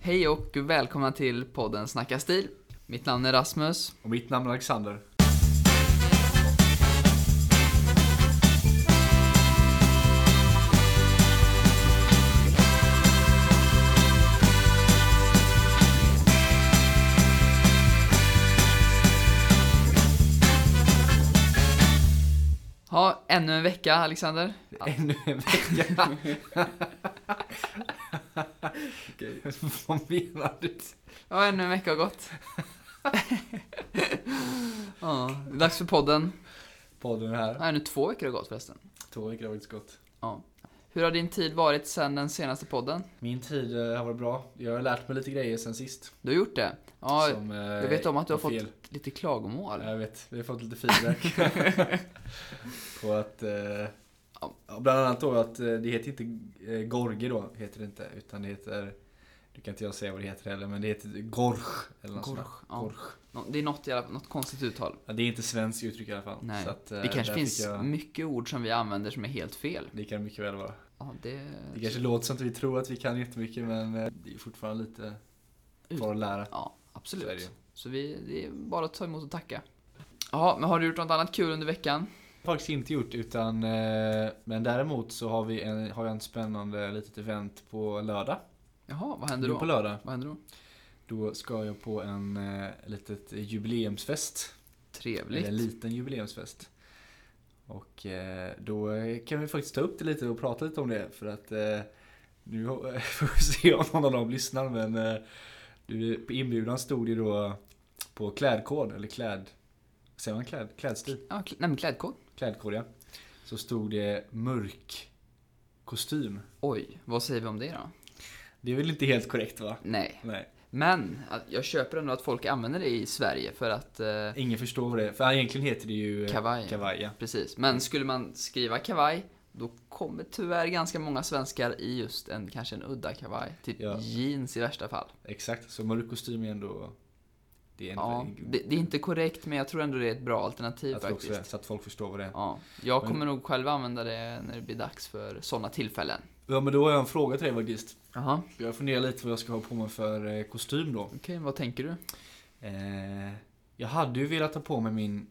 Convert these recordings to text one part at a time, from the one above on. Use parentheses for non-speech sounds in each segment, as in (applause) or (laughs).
Hej och välkomna till podden Snacka stil. Mitt namn är Rasmus. Och mitt namn är Alexander. Ja, ännu en vecka Alexander. Ännu en vecka. (laughs) Vad menar du? Ja, ännu en vecka har (laughs) gått. ja, det är dags för podden. Podden är här. Ja, nu två veckor har gått förresten. Två veckor har varit gott. Ja. Hur har din tid varit sedan den senaste podden? Min tid eh, har varit bra. Jag har lärt mig lite grejer sen sist. Du har gjort det? Ja, som, eh, jag vet om att du har var fått fel. lite klagomål. Jag vet, vi har fått (laughs) lite feedback. på att... Eh, Ja. ja, bland annat då att eh, det heter inte eh, Gorge då, heter det inte. Utan det heter... Nu kan inte jag säga vad det heter heller, men det heter Gorge. Eller något sånt där. Gorge, ja. Gorge. Nå- Det är något, jävla, något konstigt uttal. Ja, det är inte svenskt uttryck i alla fall. Nej. Så att, eh, Det kanske där finns fick jag- mycket ord som vi använder som är helt fel. Det kan det mycket väl vara. Ja, det... Det kanske låter som att vi tror att vi kan jättemycket men eh, det är fortfarande lite kvar att lära. Ja, Så är det ju. absolut. Så vi, det är bara att ta emot och tacka. Ja, men har du gjort något annat kul under veckan? Faktiskt inte gjort utan eh, men däremot så har vi en, har jag en spännande litet event på lördag. Jaha, vad händer Nu då? på lördag. Vad händer då? Då ska jag på en eh, litet jubileumsfest. Eller en Trevligt. liten jubileumsfest. Och eh, då eh, kan vi faktiskt ta upp det lite och prata lite om det för att eh, nu har- (laughs) får vi se om någon av dem lyssnar men eh, du, på inbjudan stod det då på klädkod eller kläd... Säger man kläd? Klädstil? Ja, kl- nej men klädkod. Klädkod ja. Så stod det mörk kostym. Oj, vad säger vi om det då? Det är väl inte helt korrekt va? Nej. Nej. Men, att- jag köper ändå att folk använder det i Sverige för att... Eh, Ingen förstår vad det är. För egentligen heter det ju eh, kavaj. kavaj ja. Precis. Men skulle man skriva kavaj, då kommer tyvärr ganska många svenskar i just en, kanske en udda kavaj. Typ Ja. jeans i värsta fall. Exakt, så mörk kostym är ändå... Det är en, Ja, det, det är inte korrekt, men jag tror ändå det är ett bra alternativ jag tror också faktiskt. det, så att folk förstår vad det är. Ja, jag Men- kommer nog själv använda det när det blir dags för sådana tillfällen. Ja men då har jag en fråga till dig faktiskt. Jaha, Jag funderar lite vad jag ska ha på mig för eh, kostym då. okej, vad tänker du? Eh, jag hade ju velat ta på mig min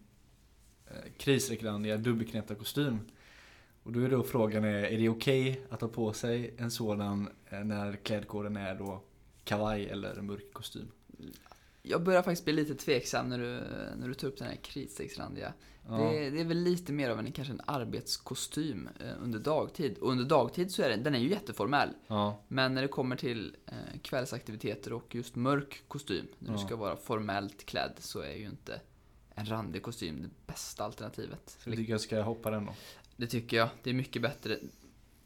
eh, krisrekrandiga dubbelknäppta kostym. Och då är då frågan, är, är det okej att ha på sig en sådan eh, när klädkoden är då kavaj eller en mörk kostym? Jag börjar faktiskt bli lite tveksam när du, när du tar upp den här kritstegsrandiga. Ja, Det, det är väl lite mer av en, kanske en arbetskostym eh, under dagtid. Och under dagtid så är den, den är ju jätteformell. ja, Men när det kommer till eh, kvällsaktiviteter och just mörk kostym, när du Ja. ska vara formellt klädd, så är ju inte en randig kostym det bästa alternativet. så jag tycker jag ska hoppa den då. Det tycker jag. Det är mycket bättre.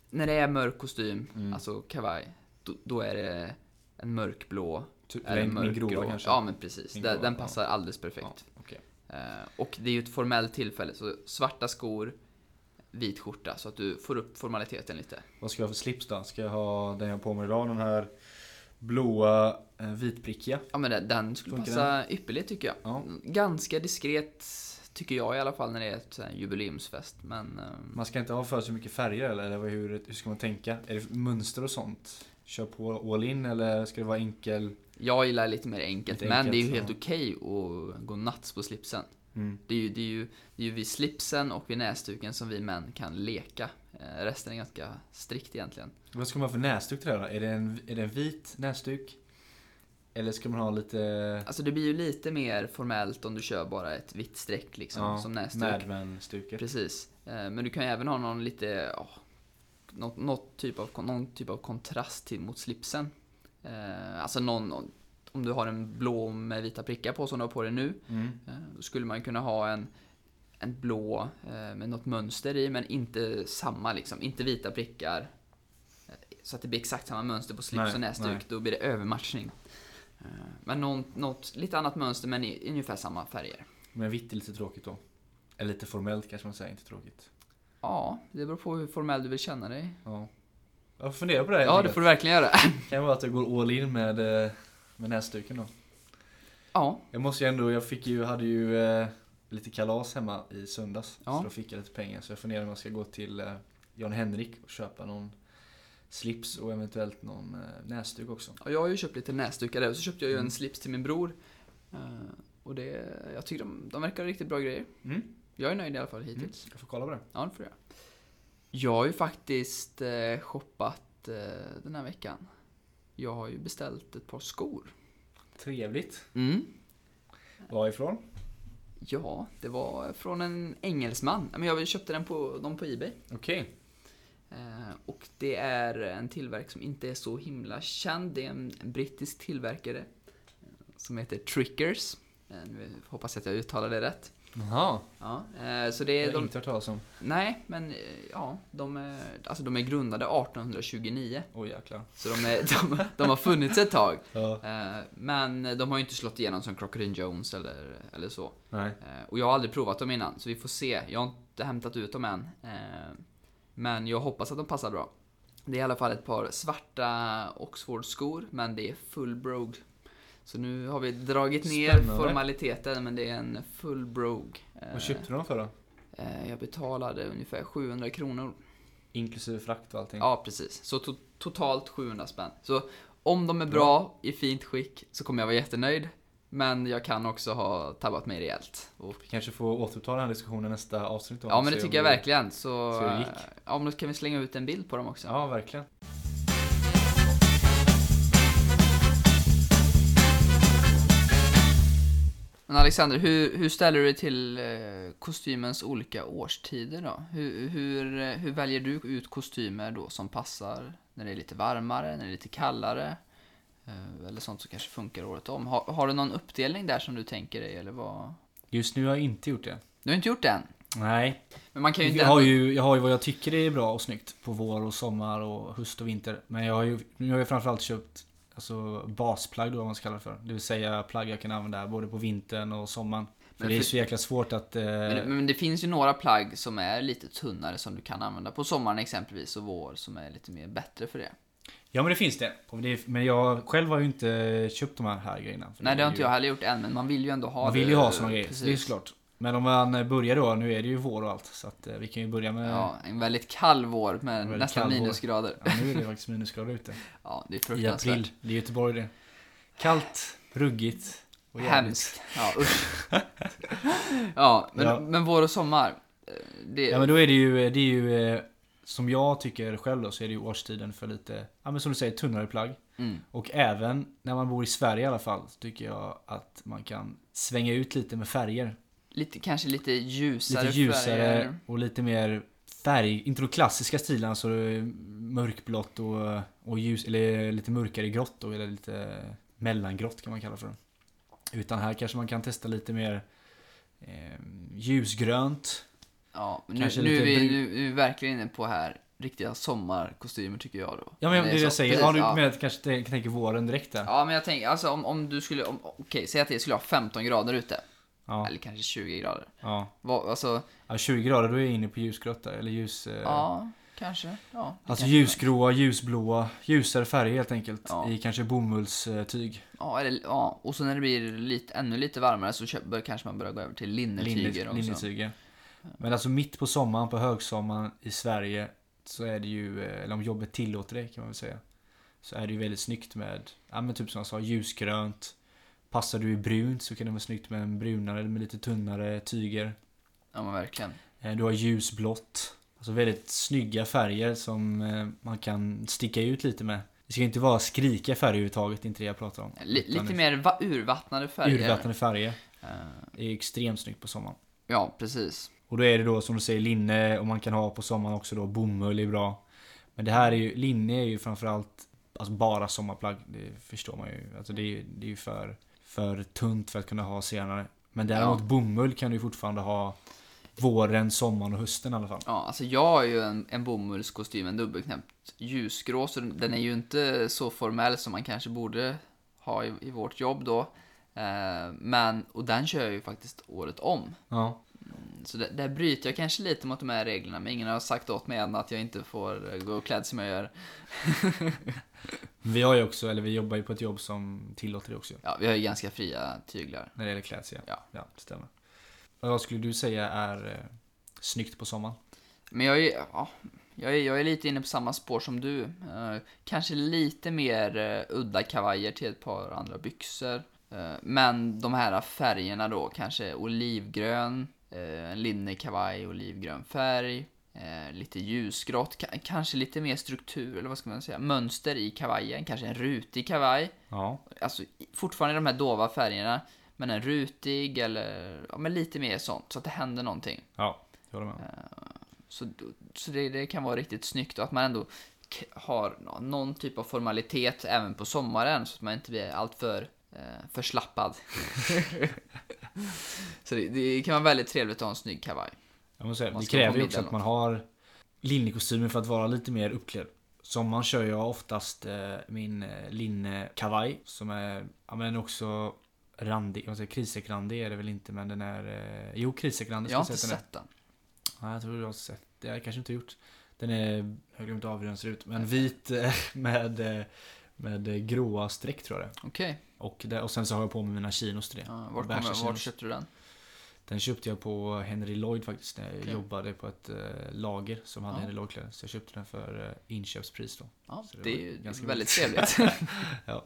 När det är mörk kostym, Mm. alltså kavaj, då, då är det en mörkblå. Typ eller en min mörkgrå. grova kanske? Ja, men precis. Min Den, grå, den ja. passar alldeles perfekt. Okej. Eh, och det är ju ett formellt tillfälle, så svarta skor, vit skjorta, så att du får upp formaliteten lite. Vad ska jag ha för slips då? Ska jag ha den jag har på mig idag? Den här blåa eh, vitprickiga? Ja, men den, den skulle Funkar passa ypperligt tycker jag. Ja. Ganska diskret, tycker jag i alla fall, när det är ett sån här jubileumsfest. Men, ehm, Man ska inte ha för så mycket färger eller, eller vad- hur, hur ska man tänka? Är det mönster och sånt? Kör på all in eller ska det vara enkel? jag gillar lite mer enkelt, Lite men det är ju enkelt, helt okej att gå nuts på slipsen. Mm. Det är, ju, det, är ju, det är ju vid slipsen och vid näsduken som vi män kan leka. Eh, resten är ganska strikt egentligen. Vad ska man ha för näsduk till det här då? Är det, en, är det en vit näsduk? Eller ska man ha lite... Alltså det blir ju lite mer formellt om du kör bara ett vitt streck liksom, ja, som näsduk. Mad Men-stuket. Precis. Eh, men du kan ju även ha någon lite, ja, något, något typ av, någon typ av kontrast till, mot slipsen. Eh, alltså någon, någon- om du har en blå med vita prickar på som du har på dig nu, Mm. Eh, Då skulle man kunna ha en, en blå eh, med något mönster i, men inte samma liksom. Inte vita prickar. Eh, Så att det blir exakt samma mönster på slips Nej, och nej. näsduk. Då blir det övermatchning. Eh, Men någon, något lite annat mönster, men i, i ungefär samma färger. Men vitt är lite tråkigt då. Eller lite formellt kanske man säger, inte tråkigt. Ja, det beror på hur formell du vill känna dig. Ja. Jag får fundera på det här. Ja, det får du verkligen göra. (laughs) kan vara att jag går all in med, eh, med näsduken då. Ja, Jag måste ju ändå, jag fick ju, hade ju eh, lite kalas hemma i söndags. Ja. Så då fick jag lite pengar. Så jag funderar om jag ska gå till eh, Jan Henrik och köpa någon slips och eventuellt någon eh, näsduk också. Ja, jag har ju köpt lite näsdukar där och så köpte jag ju Mm. en slips till min bror. Eh, och det, jag tycker de, de verkar riktigt bra grejer. Mm. Jag är nöjd i alla fall hittills. Jag får kolla på det. Ja, det Mm. får jag. Jag har ju faktiskt eh, shoppat eh, den här veckan. Jag har ju beställt ett par skor. Trevligt. Mm. Varifrån? Ja, det var från en engelsman. Ja, Men jag köpte den på, dem på Ebay. Okej. Eh, Och det är en tillverkare som inte är så himla känd. Det är en en brittisk tillverkare eh, som heter Trickers. Eh, Nu hoppas jag att jag uttalar det rätt. Jaha. Ja, eh, så det Det är har jag de, inte hört talas om. nej, men eh, ja, de är, alltså de är grundade 1829. Åh jäklar. Så de, är, (laughs) de, de har funnits ett tag. Ja. Eh, Men de har ju inte slått igenom som Crocodile Jones eller, eller så. Nej. Eh, Och jag har aldrig provat dem innan, så vi får se. Jag har inte hämtat ut dem än. Eh, Men jag hoppas att de passar bra. Det är i alla fall ett par svarta Oxford-skor, men det är full brogue. Så nu har vi dragit ner Spännande. formaliteten, men det är en full brogue. Eh, Vad köpte du dem för då? eh, Jag betalade ungefär 700 kronor. Inklusive frakt och allting? Ja, precis. Så to- totalt 700 spänn. Så om de är bra, i fint skick, så kommer jag vara jättenöjd. Men jag kan också ha tabbat mig rejält. Och Vi kanske får återuppta den här diskussionen nästa avsnitt då. Ja men det Se om tycker jag vi- verkligen. Så, så det gick. eh, ja, men då kan vi slänga ut en bild på dem också. Ja, verkligen. Men Alexander, hur, hur ställer du dig till eh, kostymens olika årstider då? Hur, hur, eh, hur väljer du ut kostymer då som passar när det är lite varmare, när det är lite kallare? Eh, eller sånt som kanske funkar året om. Har, har du någon uppdelning där som du tänker dig eller vad? Just nu har jag inte gjort det. Du har inte gjort det än. Nej. Men man kan ju inte... Jag har ändå- ju, jag har ju vad jag tycker är bra och snyggt på vår och sommar och höst och vinter. Men jag har ju, nu har jag framförallt köpt alltså, basplagg då, vad man ska kalla det för. Det vill säga plagg jag kan använda både på vintern och sommaren. För Men det är för- så jäkla svårt att... Eh, Men, men det finns ju några plagg som är lite tunnare som du kan använda på sommaren exempelvis och vår som är lite mer bättre för det. Ja men det finns det. Och det. Men jag själv har ju inte köpt de här, här grejerna. För Nej det har är inte ju- jag heller gjort än, men man vill ju ändå ha Man vill det, ju ha såna grejer, precis. det är såklart. Men om man börjar då, nu är det ju vår och allt. Så att eh, vi kan ju börja med... Ja. Ja, en väldigt kall vår med väldigt nästan kall vår. minusgrader. nu är det faktiskt (laughs) minusgrader ute. Ja, det är I fruktansvärt. april. Det är Göteborg det. Kallt, ruggigt och jävligt. Hemskt. Ja, usch. (laughs) ja, men, Ja. men vår och sommar. eh, Det, Ja men då är det ju, det är ju eh, som jag tycker själv då, så är det ju årstiden för lite, ja men som du säger, tunnare plagg. mm, Och även när man bor i Sverige i alla fall, så tycker jag att man kan svänga ut lite med färger. lite, kanske lite ljusare Lite ljusare färger. och lite mer färg, inte de klassiska stilarna så det är mörkblått och, och ljus, eller eh, lite mörkare grått då, eller lite mellangrått kan man kalla för det. Utan här kanske man kan testa lite mer eh, ljusgrönt. Ja, men nu, Kanske nu, är lite vi, brun- nu, nu är vi verkligen inne på här riktiga sommarkostymer tycker jag då. Ja men det är det jag så- säger, precis, ja, du menar att kanske tänk- tänker våren direkt där? Ja men jag tänker, alltså om, om du skulle, om- okej säg att det skulle ha 15 grader ute. Ja, Eller kanske 20 grader. ja. Vad, alltså, ja 20 grader då är jag inne på ljusgrått där, eller ljus... eh, ja, kanske. Ja, det Alltså kanske- ljusgråa, ljusblåa, ljusare färger helt enkelt. Ja. I kanske bomullstyg. Ja, eller, ja, och så när det blir lite, ännu lite varmare så köp, bör, kanske man börjar gå över till linnetyger också. Linnetyger. Men alltså mitt på sommaren, på högsommaren i Sverige så är det ju, eh, eller om jobbet tillåter det kan man väl säga, så är det ju väldigt snyggt med, ja men typ som jag sa, ljusgrönt. Passar du i brunt så kan det vara snyggt med en brunare eller med lite tunnare tyger. Ja, men verkligen. Eh, Du har ljusblått. Alltså väldigt snygga färger som eh, man kan sticka ut lite med. Det ska ju inte vara skrika färger överhuvudtaget, det är inte det jag pratar om. Li, Utan lite mer va, urvattnade färger. Urvattnade färger. Eh, Det är extremt snyggt på sommaren. ja, precis. Och då är det då som du säger linne och man kan ha på sommaren också då bomull är bra. Men det här är ju, linne är ju framförallt alltså bara sommarplagg. Det förstår man ju. Alltså det är ju, det är ju för, för tunt för att kunna ha senare. Men däremot Ja. bomull kan du ju fortfarande ha våren, sommaren och hösten i alla fall. Ja, alltså jag har ju en, en bomullskostym, en dubbelknäppt ljusgrå, så den den är ju inte så formell som man kanske borde ha i, i vårt jobb då. Eh, men, och den kör jag ju faktiskt året om. Ja. Så där, där bryter jag kanske lite mot de här reglerna, men ingen har sagt åt mig än att jag inte får eh, gå klädd som jag gör. (laughs) Vi har ju också, eller vi jobbar ju på ett jobb som tillåter det också. Ja, vi har ju ganska fria tyglar. När det gäller klädsel. Ja. ja det stämmer. Vad skulle du säga är eh, snyggt på sommaren? Men jag är, ja, Jag är, jag är lite inne på samma spår som du. Eh, kanske lite mer eh, udda kavajer till ett par andra byxor. Eh, men de här färgerna då, kanske olivgrön, eh, en linnekavaj, olivgrön färg, eh, lite ljusgrått, ka- kanske lite mer struktur, eller vad ska man säga, mönster i kavajen, kanske en rutig kavaj. Ja. Alltså i- fortfarande de här dova färgerna, men en rutig eller ja, men lite mer sånt, så att det händer någonting. Ja, jag håller med. Eh, Så, så det, det kan vara riktigt snyggt och att man ändå k- har nå- någon typ av formalitet även på sommaren så att man inte blir alltför eh, förslappad. (laughs) så det, det kan vara väldigt trevligt att ha en snygg kavaj. Jag måste säga, Man det ska kräver på ju också middag att man har linnekostymer för att vara lite mer uppklädd. Sommaren kör jag oftast eh, min eh, linnekavaj som är, ja men också randig, jag måste säga krissekrandig är det väl inte men den är, eh, jo krissekrandig Jag har inte säga att sett den. den är. Nej jag tror jag har sett, det har jag kanske inte gjort. Den är, jag har glömt av hur den ser ut, men vit eh, med, eh, med eh, gråa streck tror jag det är. Okej, och, där, och sen så har jag på mig mina chinos till det. ja, vart, Beige kommer- vart chinos. köpte du den? Den köpte jag på Henry Lloyd faktiskt när jag Okej. jobbade på ett eh, lager som hade Ja. Henry Lloyd-kläder. Så jag köpte den för eh, inköpspris då. Ja, Så det det, var är ju ganska väldigt (laughs) trevligt. Ja.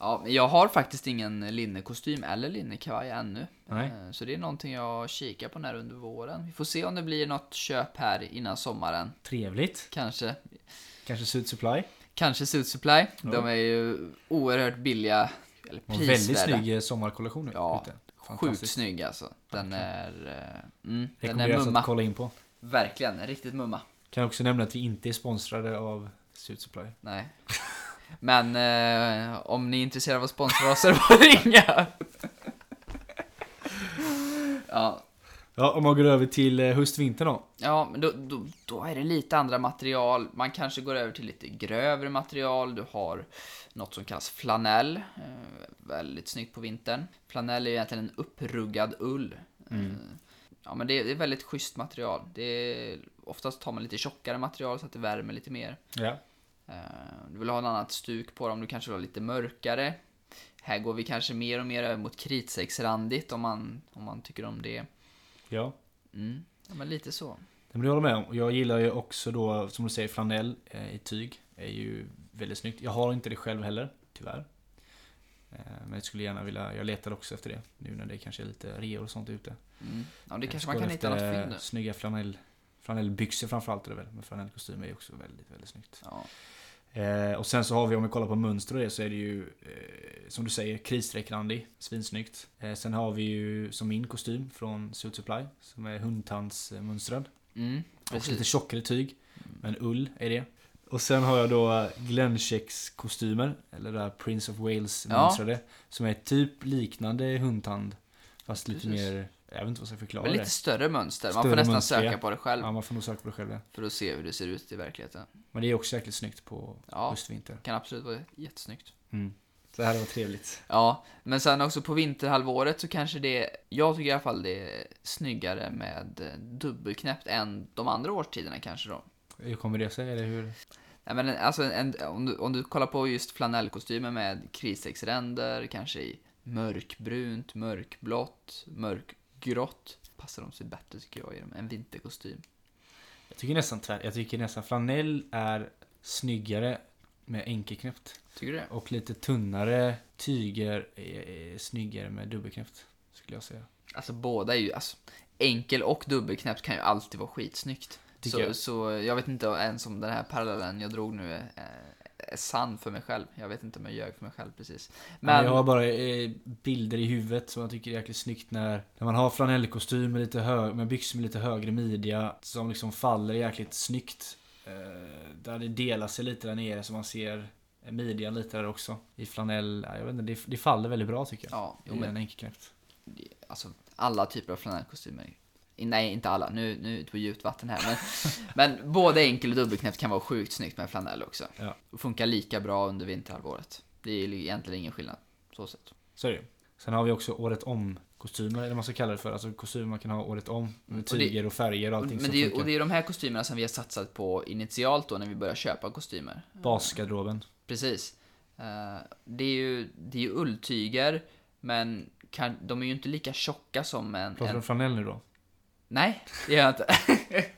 ja, men jag har faktiskt ingen linnekostym eller linnekavaj ännu. Nej. Eh, Så det är någonting jag kikar på när under våren. Vi får se om det blir något köp här innan sommaren. Trevligt. Kanske. Kanske Sud Supply. Kanske Suit Supply. De Ja. är ju oerhört billiga. Eller Och väldigt prisvärda. snygg eh, sommarkollektion nu. Ja, ute. Sjukt Fantastiskt. snygg alltså. Den är... eh, Mm, den är Rekommenderas att mumma. kolla in på. Verkligen, riktigt mumma. Kan också nämna att vi inte är sponsrade av Sud Supply. Nej. Men eh, om ni är intresserade av att sponsra oss så är det bara att (laughs) ringa. ja, Ja, om man går över till eh, höst-vinter då. Ja, men då, då, då är det lite andra material. Man kanske går över till lite grövre material. Du har något som kallas flanell. Eh, väldigt snyggt på vintern. Flanell är ju egentligen en uppruggad ull. Eh, ja, men det, det är väldigt schysst material. Det är, oftast tar man lite tjockare material så att det värmer lite mer. Ja. Eh, du vill ha en annat stuk på dem. Du kanske vill ha lite mörkare. Här går vi kanske mer och mer över mot kritsäcksrandigt om man, om man tycker om det. ja. Mm. Ja, men lite så. Det vill jag hålla med om. Och Jag gillar ju också då, som du säger, flanell eh, i tyg. är ju väldigt snyggt. Jag har inte det själv heller, tyvärr. Eh, Men jag skulle gärna vilja, jag letar också efter det. Nu när det kanske är lite reor och sånt ute. Mm. Ja, det Jag kanske man skålar kan hitta något efter, fynd eh, nu. Snygga flanell, flanellbyxor framförallt är det väl. Men flanellkostym är ju också väldigt, väldigt snyggt. Ja. Eh, och sen så har vi, om vi kollar på mönster och det, så är det ju eh, som du säger, krisstreckrandig. Svinsnyggt. Eh, sen har vi ju som min kostym från Suit Supply, som är hundtandsmönstrad. Mm, Också lite precis. tjockare tyg. Men ull är det. Och sen har jag då Glenchecks kostymer. Eller där Prince of Wales Ja. mönstrade. Som är typ liknande hundtand. Fast lite Precis. mer, jag vet inte vad jag ska förklara Men lite det. större mönster. Man får Större nästan mönster, söka ja. på det själv Ja, man får nog söka på det själv. ja. för att se hur det ser ut i verkligheten. Men det är också jäkligt snyggt på Ja. höstvinter. Kan absolut vara jättesnyggt. Mm. Det här var trevligt. Ja, men sen också på vinterhalvåret så kanske det, jag tycker i alla fall det är snyggare med eh, dubbelknäppt än de andra årstiderna kanske då. Hur kommer det sig? Eller hur? Nej, men alltså en, om, du, om du kollar på just flanellkostymer med krisexränder, kanske i mörkbrunt, mörkblått, mörkgrått. Passar de sig bättre tycker jag i dem än vinterkostym. Jag tycker nästan tvärt. Jag tycker nästan flanell är snyggare med enkelknäppt. Tycker du det? Och lite tunnare tyger är, är snyggare med dubbelknäppt. Skulle jag säga. Alltså båda är ju, alltså, enkel och dubbelknäppt kan ju alltid vara skitsnyggt. Tycker Så jag. jag. så jag vet inte ens om den här parallellen jag drog nu är, är- är sann för mig själv. Jag vet inte om jag ljög för mig själv precis. Men Men... Jag har bara eh, bilder i huvudet som jag tycker är jäkligt snyggt när, när man har flanellkostym med, lite hög, med byxor med lite högre midja som liksom faller jäkligt snyggt. Eh, där det delar sig lite där nere så man ser midjan lite där också. I flanell, ja, jag vet inte, det, det faller väldigt bra tycker jag. ja, jo, I men en enkelknäppt. alltså, alla typer av flanellkostymer. Nej, inte alla. Nu, nu är jag ute på djupt vatten här. Men, (laughs) men både enkel och dubbelknäppt kan vara sjukt snyggt med flanell också. Ja. Och funkar lika bra under vinterhalvåret. Det är ju egentligen ingen skillnad. Så sett. Så är det ju. Sen har vi också året om kostymer, eller vad man ska kalla det för. Alltså kostymer man kan ha året om. Med Och det- tyger och färger och Och, allting men som det är, ju- funkar. och det är de här kostymerna som vi har satsat på initialt då när vi börjar köpa kostymer. Basgarderoben. Precis. Eh, det är ju det är ju ulltyger, men kan, de är ju inte lika tjocka som en... Pratar du en om flanell nu då? nej, det gör jag inte. (laughs)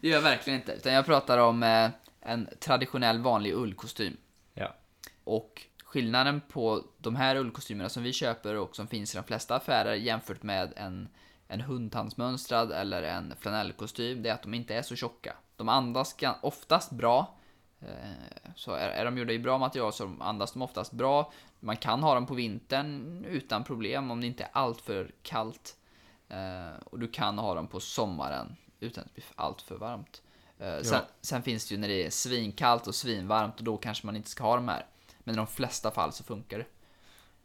Det gör jag verkligen inte. Utan jag pratar om eh, en traditionell vanlig ullkostym. Ja. Och skillnaden på de här ullkostymerna som vi köper och som finns i de flesta affärer jämfört med en, en hundtandsmönstrad eller en flanellkostym, det är att de inte är så tjocka. De andas gan- oftast bra. Eh, Så är, är de gjorda i bra material så andas de oftast bra. Man kan ha dem på vintern utan problem om det inte är alltför kallt. Eh, och du kan ha dem på sommaren utan att det blir allt för varmt. Eh, sen, sen finns det ju när det är svinkallt och svinvarmt och då kanske man inte ska ha de här. Men i de flesta fall så funkar det.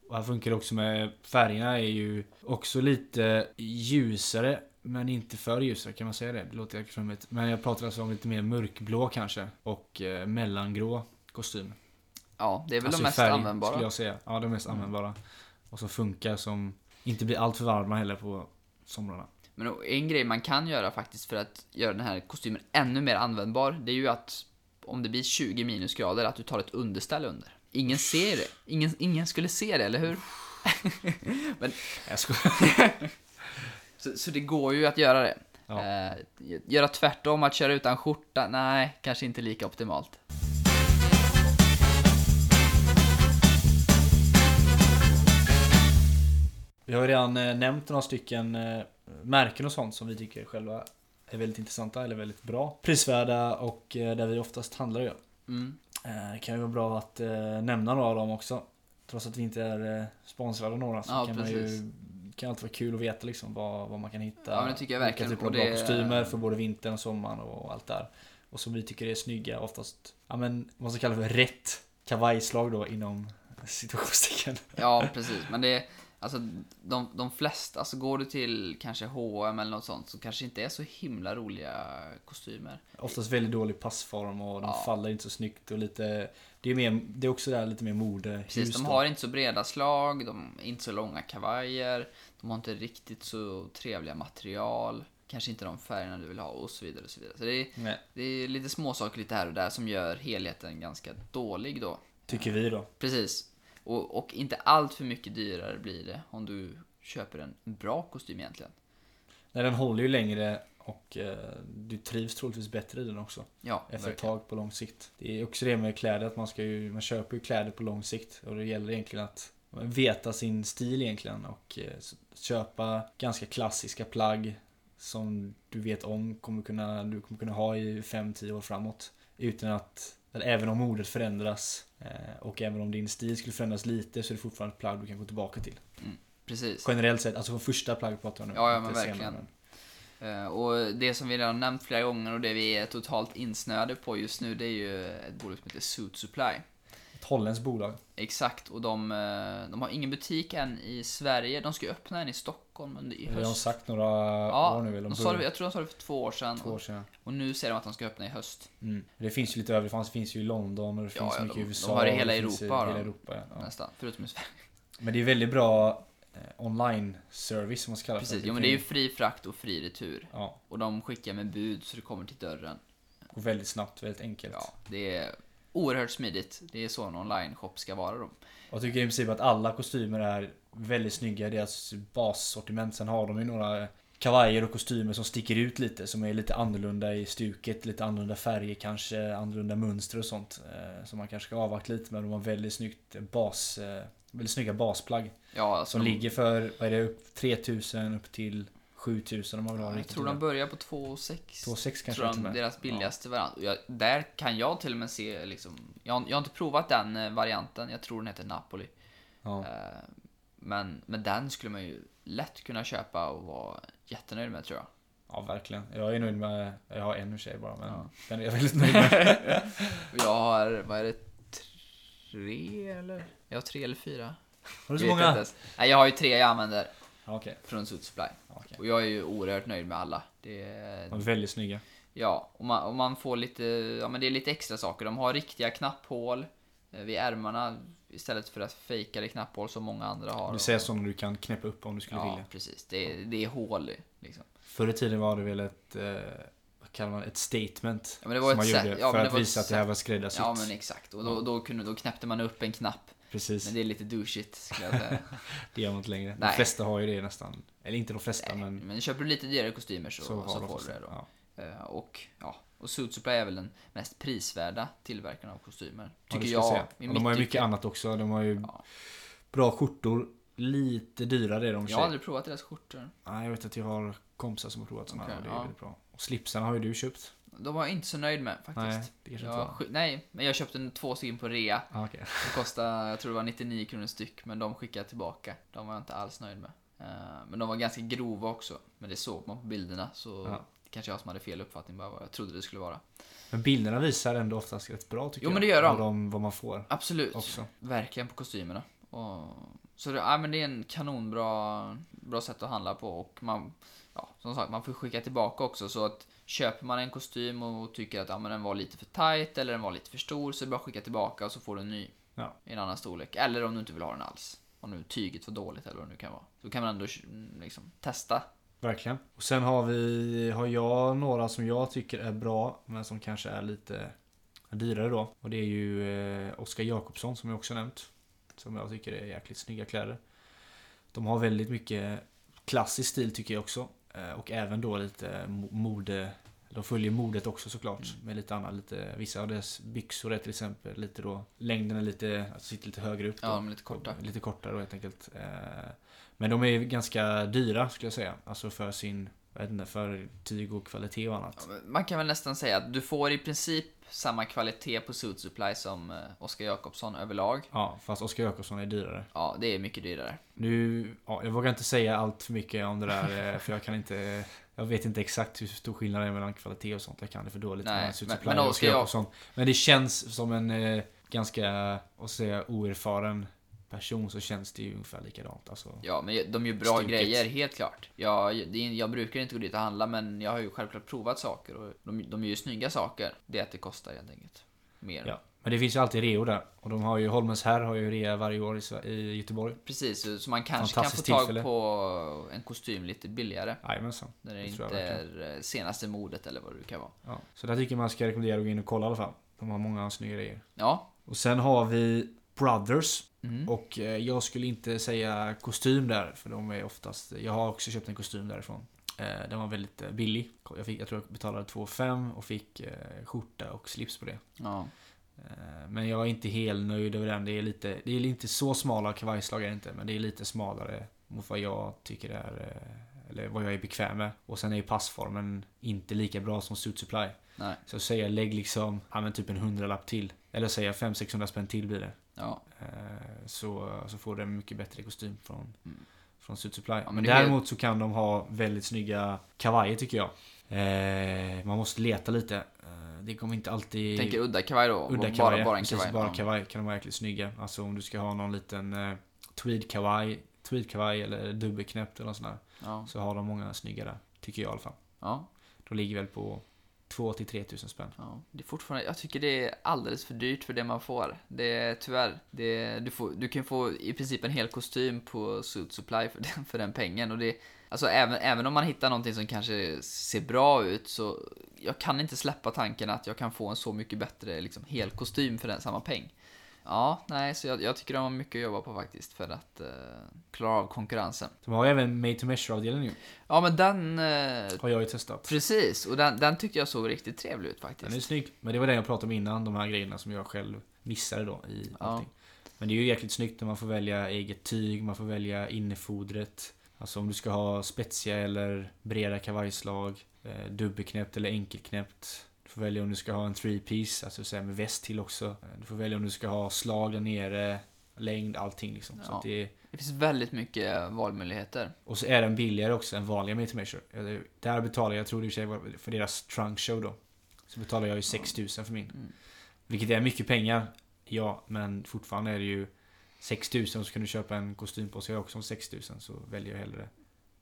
Och här funkar det också med färgerna är ju också lite ljusare. Men inte för ljusare, kan man säga det? Det låter jäkligt flummigt. Men jag pratar alltså om lite mer mörkblå kanske. Och eh, mellangrå kostym. Ja, det är väl alltså de mest färg, användbara. Mm. skulle jag säga. Ja, de mest användbara. Och som funkar som... Inte blir allt för varma heller på somrarna. Men en grej man kan göra faktiskt för att göra den här kostymen ännu mer användbar, det är ju att om det blir 20 minusgrader, att du tar ett underställ under. Ingen ser det. Ingen, ingen skulle se det, eller hur? (laughs) Jag skojar. Så, så det går ju att göra det. Ja. Eh, göra tvärtom, att köra utan skjorta, nej, kanske inte lika optimalt. Vi har ju redan eh, nämnt några stycken eh, märken och sånt som vi tycker själva är väldigt intressanta eller väldigt bra. Prisvärda och eh, där vi oftast handlar ju. Mm. Eh, Det kan ju vara bra att eh, nämna några av dem också. Trots att vi inte är eh, sponsrade av några så Ja, kan precis. man ju kan alltid vara kul att veta liksom vad, vad man kan hitta. Ja, men det tycker jag vilka verkligen. typer av Och bra det- kostymer för både vintern och sommaren och allt där. Och som vi tycker är snygga oftast. Ja men vad man ska kalla för rätt kavajslag då inom situationstecken. Ja, precis. Men det är, alltså, de, de flesta, alltså går du till kanske H&M eller något sånt, så kanske inte är så himla roliga kostymer. Oftast väldigt dålig passform och de Ja. faller inte så snyggt och lite Det är, mer, det är också där lite mer mode Precis, de har inte så breda slag, de är inte så långa kavajer, de har inte riktigt så trevliga material, kanske inte de färgerna du vill ha och så vidare. Och så vidare. Så det, är, Nej, det är lite småsaker lite här och där som gör helheten ganska dålig då. Tycker vi då. Precis. Och, och inte allt för mycket dyrare blir det om du köper en bra kostym egentligen. Nej, den håller ju längre och eh, du trivs troligtvis bättre i den också. Ja, Efter ett verkligen. tag på lång sikt. Det är också det med kläder att man, ska ju, man köper ju kläder på lång sikt. Och det gäller egentligen att veta sin stil egentligen. Och eh, s- köpa ganska klassiska plagg som du vet om kommer kunna, du kommer kunna ha i 5-10 år framåt. Utan att, eller även om modet förändras eh, och även om din stil skulle förändras lite så är det fortfarande ett plagg du kan gå tillbaka till. Precis. Generellt sett, alltså från första plagget pratar jag nu. Ja, ja, inte men verkligen. senare. Eh, Och det som vi redan nämnt flera gånger och det vi är totalt insnöade på just nu det är ju ett bolag som heter Suit Supply. Ett holländskt bolag. Exakt, och de, eh, de har ingen butik än i Sverige. De ska ju öppna en i Stockholm under i Det har de höst. sagt några år Ja, nu. Eller de om sa det, början- jag tror de sa det för två år sedan. två år sedan. Och nu säger de att de ska öppna i höst. Mm. Det finns ju lite över, det fanns- finns ju i London och det Ja, finns ja, mycket de- i de USA. har det i och hela finns i Europa, hela de. Europa ja. ja. Nästan, förutom i Sverige. Men det är väldigt bra eh, online-service som man ska kalla Precis, det. jo, men det är ju fri frakt och fri retur. Ja, Och de skickar med bud så det kommer till dörren. går väldigt snabbt, väldigt enkelt. Ja, det är oerhört smidigt. Det är så en online-shop ska vara då. Och Jag tycker i princip att alla kostymer är väldigt snygga i deras bassortiment. Sen har de ju några kavajer och kostymer som sticker ut lite. Som är lite annorlunda i stuket, lite annorlunda färger kanske, annorlunda mönster och sånt. eh, Som man kanske ska avvakta lite med. De har väldigt snyggt bas... eh, Väldigt snygga basplagg. Ja, alltså Som de- ligger för, vad är det, upp 3000 upp till 7000 om man vill ha Ja, en Jag riktigt tror de börjar på 2,6. 2,6 tror kanske till och de med. deras billigaste variant. Och Jag, där kan jag till och med se liksom, jag, har- jag har inte provat den eh, varianten, jag tror den heter Napoli. Ja. Eh, Men, men den skulle man ju lätt kunna köpa och vara jättenöjd med tror jag. ja, verkligen. Jag är nöjd med, jag har en i och för sig bara men Ja. den är jag väldigt (laughs) nöjd med. Och Jag har, vad är det, tre eller? Jag har tre eller fyra. Har du så Jag vet inte många? ens. Nej, jag har ju tre jag använder Ja, okej. från Suit Supply. Ja, okej. Och jag är ju oerhört nöjd med alla. Det är De är väldigt snygga. Ja, och man, och man får lite, ja men det är lite extra saker. De har riktiga knapphål eh, vid ärmarna istället för att fejkade knapphål som många andra har. Du ser sådana du kan knäppa upp om du skulle Ja, vilja. precis. Det är, det är hål liksom. Förr i tiden var det väl ett, eh, vad kallar man det? ett statement. Ja, men det var som ett man sätt- gjorde ja, för men det att var ett visa att det här var skräddarsytt. Ja men exakt. Och då, då, kunde, då knäppte man upp en knapp. Precis, Men det är lite douchigt skulle jag (laughs) säga. det gör man inte längre. De Nej. flesta har ju det nästan. Eller inte de flesta men men köper du lite dyrare kostymer så, så, Mm. så har de får du flesta. det då. Ja. Eh, Och ja, och Suit Supply är väl den mest prisvärda tillverkaren av kostymer. Ja, det Tycker ska jag. säga. i Ja, De har ju mitt mycket annat också. De har ju Ja. bra skjortor. Lite dyrare är de i och för Jag har sig. aldrig provat deras skjortor. Nej, jag vet att jag har kompisar som har provat sådana Okej, och det är ja. väldigt bra. Och slipsarna har ju du köpt. De var jag inte så nöjd med Nej, faktiskt. det kanske inte jag, var. sk- nej, men jag köpte en- två stycken på rea. Ah, okej. Det kostade, jag tror det var 99 kronor styck, men de skickade jag tillbaka. De var jag inte alls nöjd med. Eh, Men de var ganska grova också. Men det såg man på bilderna, så Ja. kanske jag som hade fel uppfattning bara vad jag trodde det skulle vara. Men bilderna visar ändå oftast rätt bra tycker Jo, jag. men det gör de. Vad, de, vad man får Absolut. också. Verkligen på kostymerna. Och, så det, ja, men det är en kanonbra bra sätt att handla på och man, ja, som sagt, man får skicka tillbaka också så att köper man en kostym och tycker att ja, men den var lite för tight eller den var lite för stor så är det bara att skicka tillbaka och så får du en ny Ja. i en annan storlek. Eller om du inte vill ha den alls. Om nu tyget var dåligt eller vad det nu kan vara. Så kan man ändå mm, liksom, testa. Verkligen. Och sen har vi, har jag några som jag tycker är bra men som kanske är lite dyrare då. Och det är ju eh, Oskar Jakobsson som jag också nämnt. Som jag tycker är jäkligt snygga kläder. De har väldigt mycket klassisk stil tycker jag också. Eh, och även då lite mo- mode. De följer modet också såklart. Med lite annat. Lite, vissa av deras byxor är till exempel lite då. Längden är lite, alltså sitter lite högre upp. Då. Ja, de är lite korta. Lite kortare då helt enkelt. Eh, Men de är ganska dyra skulle jag säga. Alltså för sin, jag vet inte, för tyg och kvalitet och annat. Ja, men Man kan väl nästan säga att du får i princip samma kvalitet på Suit Supply som eh, Oskar Jakobsson överlag. Ja, fast Oskar Jakobsson är dyrare. Ja, det är mycket dyrare. Nu, ja, jag vågar inte säga allt för mycket om (laughs) det där eh, för jag kan inte jag vet inte exakt hur stor skillnad det är mellan kvalitet och sånt. Jag kan det för dåligt. Nej, mellan Suits men- Supply men och Oscar Oscar Jakobsson. men det känns som en eh, ganska, vad ska jag säga, oerfaren person så känns det ju ungefär likadant. Alltså, Ja, men de gör bra Stuket. grejer, helt klart. Jag, det är- jag brukar inte gå dit och handla, men jag har ju självklart provat saker och de, de är ju snygga saker. Det är att det kostar helt enkelt. Mer. Ja, men det finns ju alltid reor där. Och de har ju, Holmens herr har ju rea varje år i, Sve- i Göteborg. Precis, så- så man kanske kan få Fantastiskt tag tillfälle. på en kostym lite billigare. Jajamensan. När det, Det tror jag inte är eh, senaste modet eller vad det kan vara. Ja. Så där tycker jag man ska rekommendera att gå in och kolla i alla fall. De har många snygga grejer. Ja. Och sen har vi Brothers. Mm. Och eh, jag skulle inte säga kostym där, för de är oftast... Jag har också köpt en kostym därifrån. Eh, Den var väldigt eh, billig. Jag, fick, jag tror jag betalade 2 5 och fick eh, skjorta och slips på det. ja. Eh, Men jag är inte helt nöjd över den. Det är, lite, det är inte så smala kavajslag är det inte, men det är lite smalare mot vad jag tycker är, eh, eller vad jag är bekväm med. Och sen är ju passformen inte lika bra som Suit Supply. Nej. Så säger jag lägg liksom, ja men typ en hundralapp till. Eller säger jag 500-600 spänn till blir det. Ja. Eh, Så, så får du en mycket bättre kostym från, Mm. från Suit Supply. men men det är- däremot så kan de ha väldigt snygga kavajer tycker jag. Eh, man måste leta lite. Eh, det kommer inte alltid... Tänker udda kavaj då? Udda bara, kavajer. bara en Precis, kavaj. bara Ja. kavaj kan de vara jäkligt snygga. Alltså om du ska ha någon liten eh, tweedkavaj, tweedkavaj eller dubbelknäppt eller något sånt där. Ja. Så har de många snygga där. Tycker jag i alla fall. Ja. De ligger väl på 2 till 3 tusen spänn. Ja, det är fortfarande, jag tycker det är alldeles för dyrt för det man får. Det är tyvärr. Det, du, får, du kan få i princip en hel kostym på Suit Supply för den, för den pengen. Och det, alltså även, även om man hittar någonting som kanske ser bra ut så jag kan inte släppa tanken att jag kan få en så mycket bättre liksom, hel kostym för den samma peng. Ja, nej, så jag, jag tycker de har mycket att jobba på faktiskt för att eh, klara av konkurrensen. De har ju även made to measure avdelning nu. Ja, men den... Eh, Har jag ju testat. precis, och den, den tyckte jag såg riktigt trevlig ut faktiskt. Den är snygg. Men det var den jag pratade om innan. De här grejerna som jag själv missade då i Ja. allting. Men det är ju jäkligt snyggt när man får välja eget tyg. Man får välja innefodret. Alltså om du ska ha spetsiga eller breda kavajslag. Eh, dubbelknäppt eller enkelknäppt. Du får välja om du ska ha en three piece, alltså så här med väst till också. Eh, Du får välja om du ska ha slag där nere, längd, allting liksom. Så Ja. att det är, Det finns väldigt mycket valmöjligheter. och så är den billigare också än vanliga Mate Measure. Eh, Där betalar jag, jag tror det i och för sig var för deras trunk show då. Så betalar jag ju 6000 för min. Mm. Vilket är mycket pengar, ja, men fortfarande är det ju 6000 så kan du köpa en kostym på sig också om 6000 så väljer jag hellre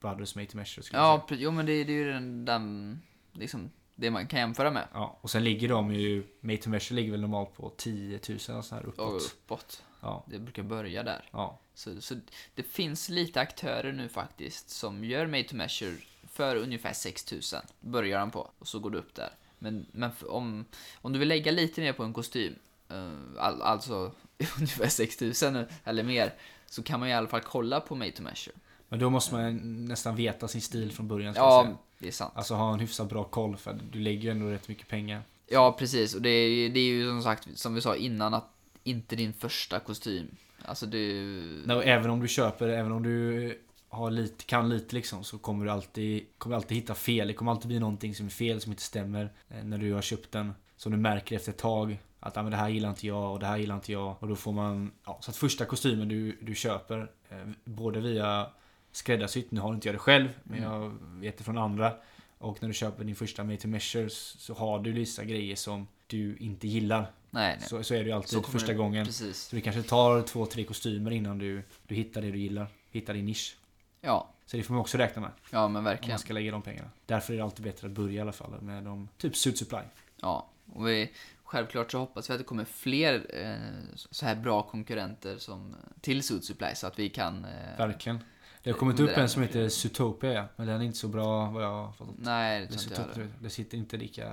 Brothers Mate Measure skulle jag Ja, pre- jo men det, det är ju den, den liksom, det man kan jämföra med. säga. Ja, och sen ligger de ju, Mate Measure ligger väl normalt på 10 000 och så här Och uppåt. uppåt. Ja, Det brukar börja där. ja, Så, så det finns lite aktörer nu faktiskt som gör made to measure för ungefär 6000. Börjar den på och så går du upp där. Men, men f- om, om du vill lägga lite mer på en kostym, eh, all, (laughs) alltså ungefär 6000 eller mer, så kan man i alla fall kolla på made to measure. Men då måste man nästan veta sin stil från början. ska jag Ja, säga. det är sant. Alltså ha en hyfsat bra koll för du lägger ju ändå rätt mycket pengar. Ja, precis. Och det är, ju- det är ju som sagt, som vi sa innan, att inte din första kostym. Alltså du... Nej, och även om du köper, även om du har lite, kan lite liksom så kommer du alltid, kommer alltid hitta fel. Det kommer alltid bli någonting som är fel, som inte stämmer eh, när du har köpt den. Som du märker efter ett tag att ah, men det här gillar inte jag och det här gillar inte jag. Och då får man, ja, så att första kostymen du, du köper, eh, både via skräddarsytt, nu har inte jag det själv, men Mm. jag vet det från andra. Och när du köper din första Made to Measures så har du vissa grejer som du inte gillar. Nej, nej. Så, så är det ju alltid Så kommer första det- gången. Precis. Så det kanske tar två, tre kostymer innan du, du hittar det du gillar. Hittar din nisch. Ja, Så det får man också räkna med ja men om verkligen. man ska lägga de pengarna. Därför är det alltid bättre att börja i alla fall med de, typ suit supply. Ja, och vi, självklart så hoppas vi att det kommer fler eh, så här bra konkurrenter som, till Suit Supply så att vi kan... Eh, Verkligen. Det har kommit Men upp det är- en som heter Zootopia men den är inte så bra vad jag har fattat. Nej, det Eller tror inte jag Zootopia, heller. det sitter inte lika...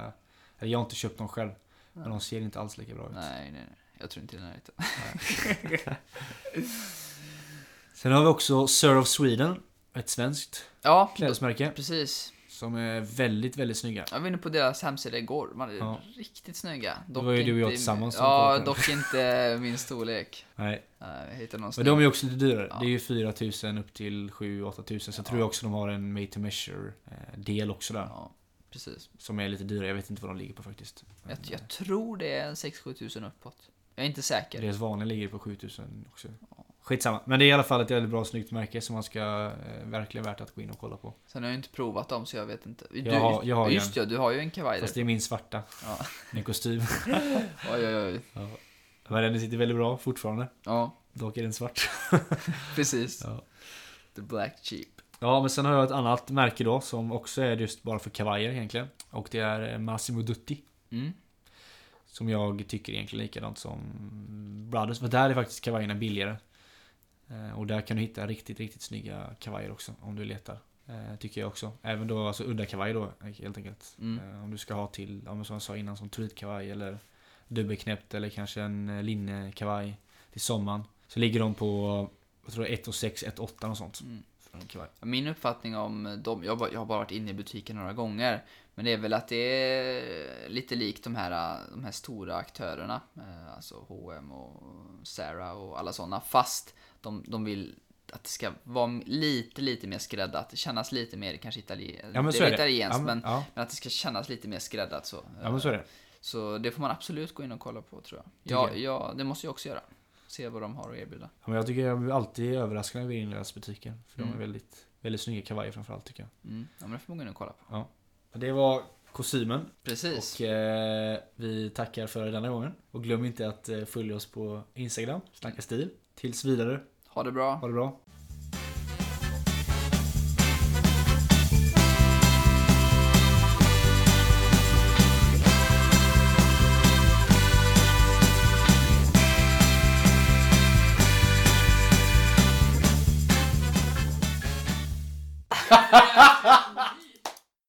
eller Jag har inte köpt dem själv. Men de ser inte alls lika bra ut. Nej, nej, nej. Jag tror inte det är närheten. (laughs) Sen har vi också Sir of Sweden. Ett svenskt Ja, klädesmärke. precis. Som är väldigt, väldigt snygga. Jag var inne på deras hemsida igår. De hade Ja. riktigt snygga. var ju inte du och jag i- tillsammans som kollade Ja, på den. dock (laughs) inte min storlek. Nej. Nej, Jag hittade någon Men snygg. de är ju också lite dyrare. Ja. Det är ju 4000 upp till 7-8 tusen. Sen tror jag också de har en made to measure eh, del också där. Ja, precis. Som är lite dyrare. Jag vet inte vad de ligger på faktiskt. Men, Jag, jag tror det är en 6-7 tusen uppåt. Jag är inte säker. eh, Deras vanliga ligger på 7000 också. Skitsamma. Men det är i alla fall ett väldigt bra snyggt märke som man ska eh, verkligen värt att gå in och kolla på. Sen har jag inte provat dem så jag vet inte. Du, Jag har- jag har ju just ja, du har ju en kavaj där. Fast det är min svarta. Ja. (laughs) Min kostym. Oj, oj, oj. Men den sitter väldigt bra fortfarande. Ja, Dock är den svart. precis. Ja. The Black Sheep. Ja men sen har jag ett annat märke då som också är just bara för kavajer egentligen. Och det är eh, Massimo Dutti. Mm. Som jag tycker egentligen likadant som Brothers. För där är faktiskt kavajerna billigare. Eh, Och där kan du hitta riktigt, riktigt snygga kavajer också om du letar. Eh, Tycker jag också. Även då alltså udda kavajer då helt enkelt. Mm. Eh, Om du ska ha till, ja, men som jag sa innan, som tweedkavaj eller dubbelknäppt eller kanske en eh, linnekavaj till sommaren. Så ligger de på, jag tror 1 och 6, 1 8 och sånt. Mm. För en kavaj. Min uppfattning om dem, jag, har bara- jag har bara varit inne i butiken några gånger, men det är väl att det är lite likt de här, de här stora aktörerna, eh, alltså H&M och Zara och alla sådana, fast de, de vill att det ska vara lite, lite mer skräddat, kännas lite mer kanske italienskt, Ja men så det är är det. italienskt, ja, men, men, ja, men att det ska kännas lite mer skräddat så. eh, ja men så är det. Så det får man absolut gå in och kolla på tror jag. Tycker Ja, ja det måste jag också göra. Se vad de har att erbjuda. Ja, men jag tycker jag blir alltid överraskad när jag går in i deras butiker. För de Mm. är väldigt, väldigt snygga kavajer framförallt tycker jag. Mm. Ja, men det får man gå in och kolla på. Men Det var kostymen. Precis. Och eh, vi tackar för denna gången. Och glöm inte att eh, följa oss på Instagram, Snacka stil. Tills vidare, Ha det bra. ha det bra.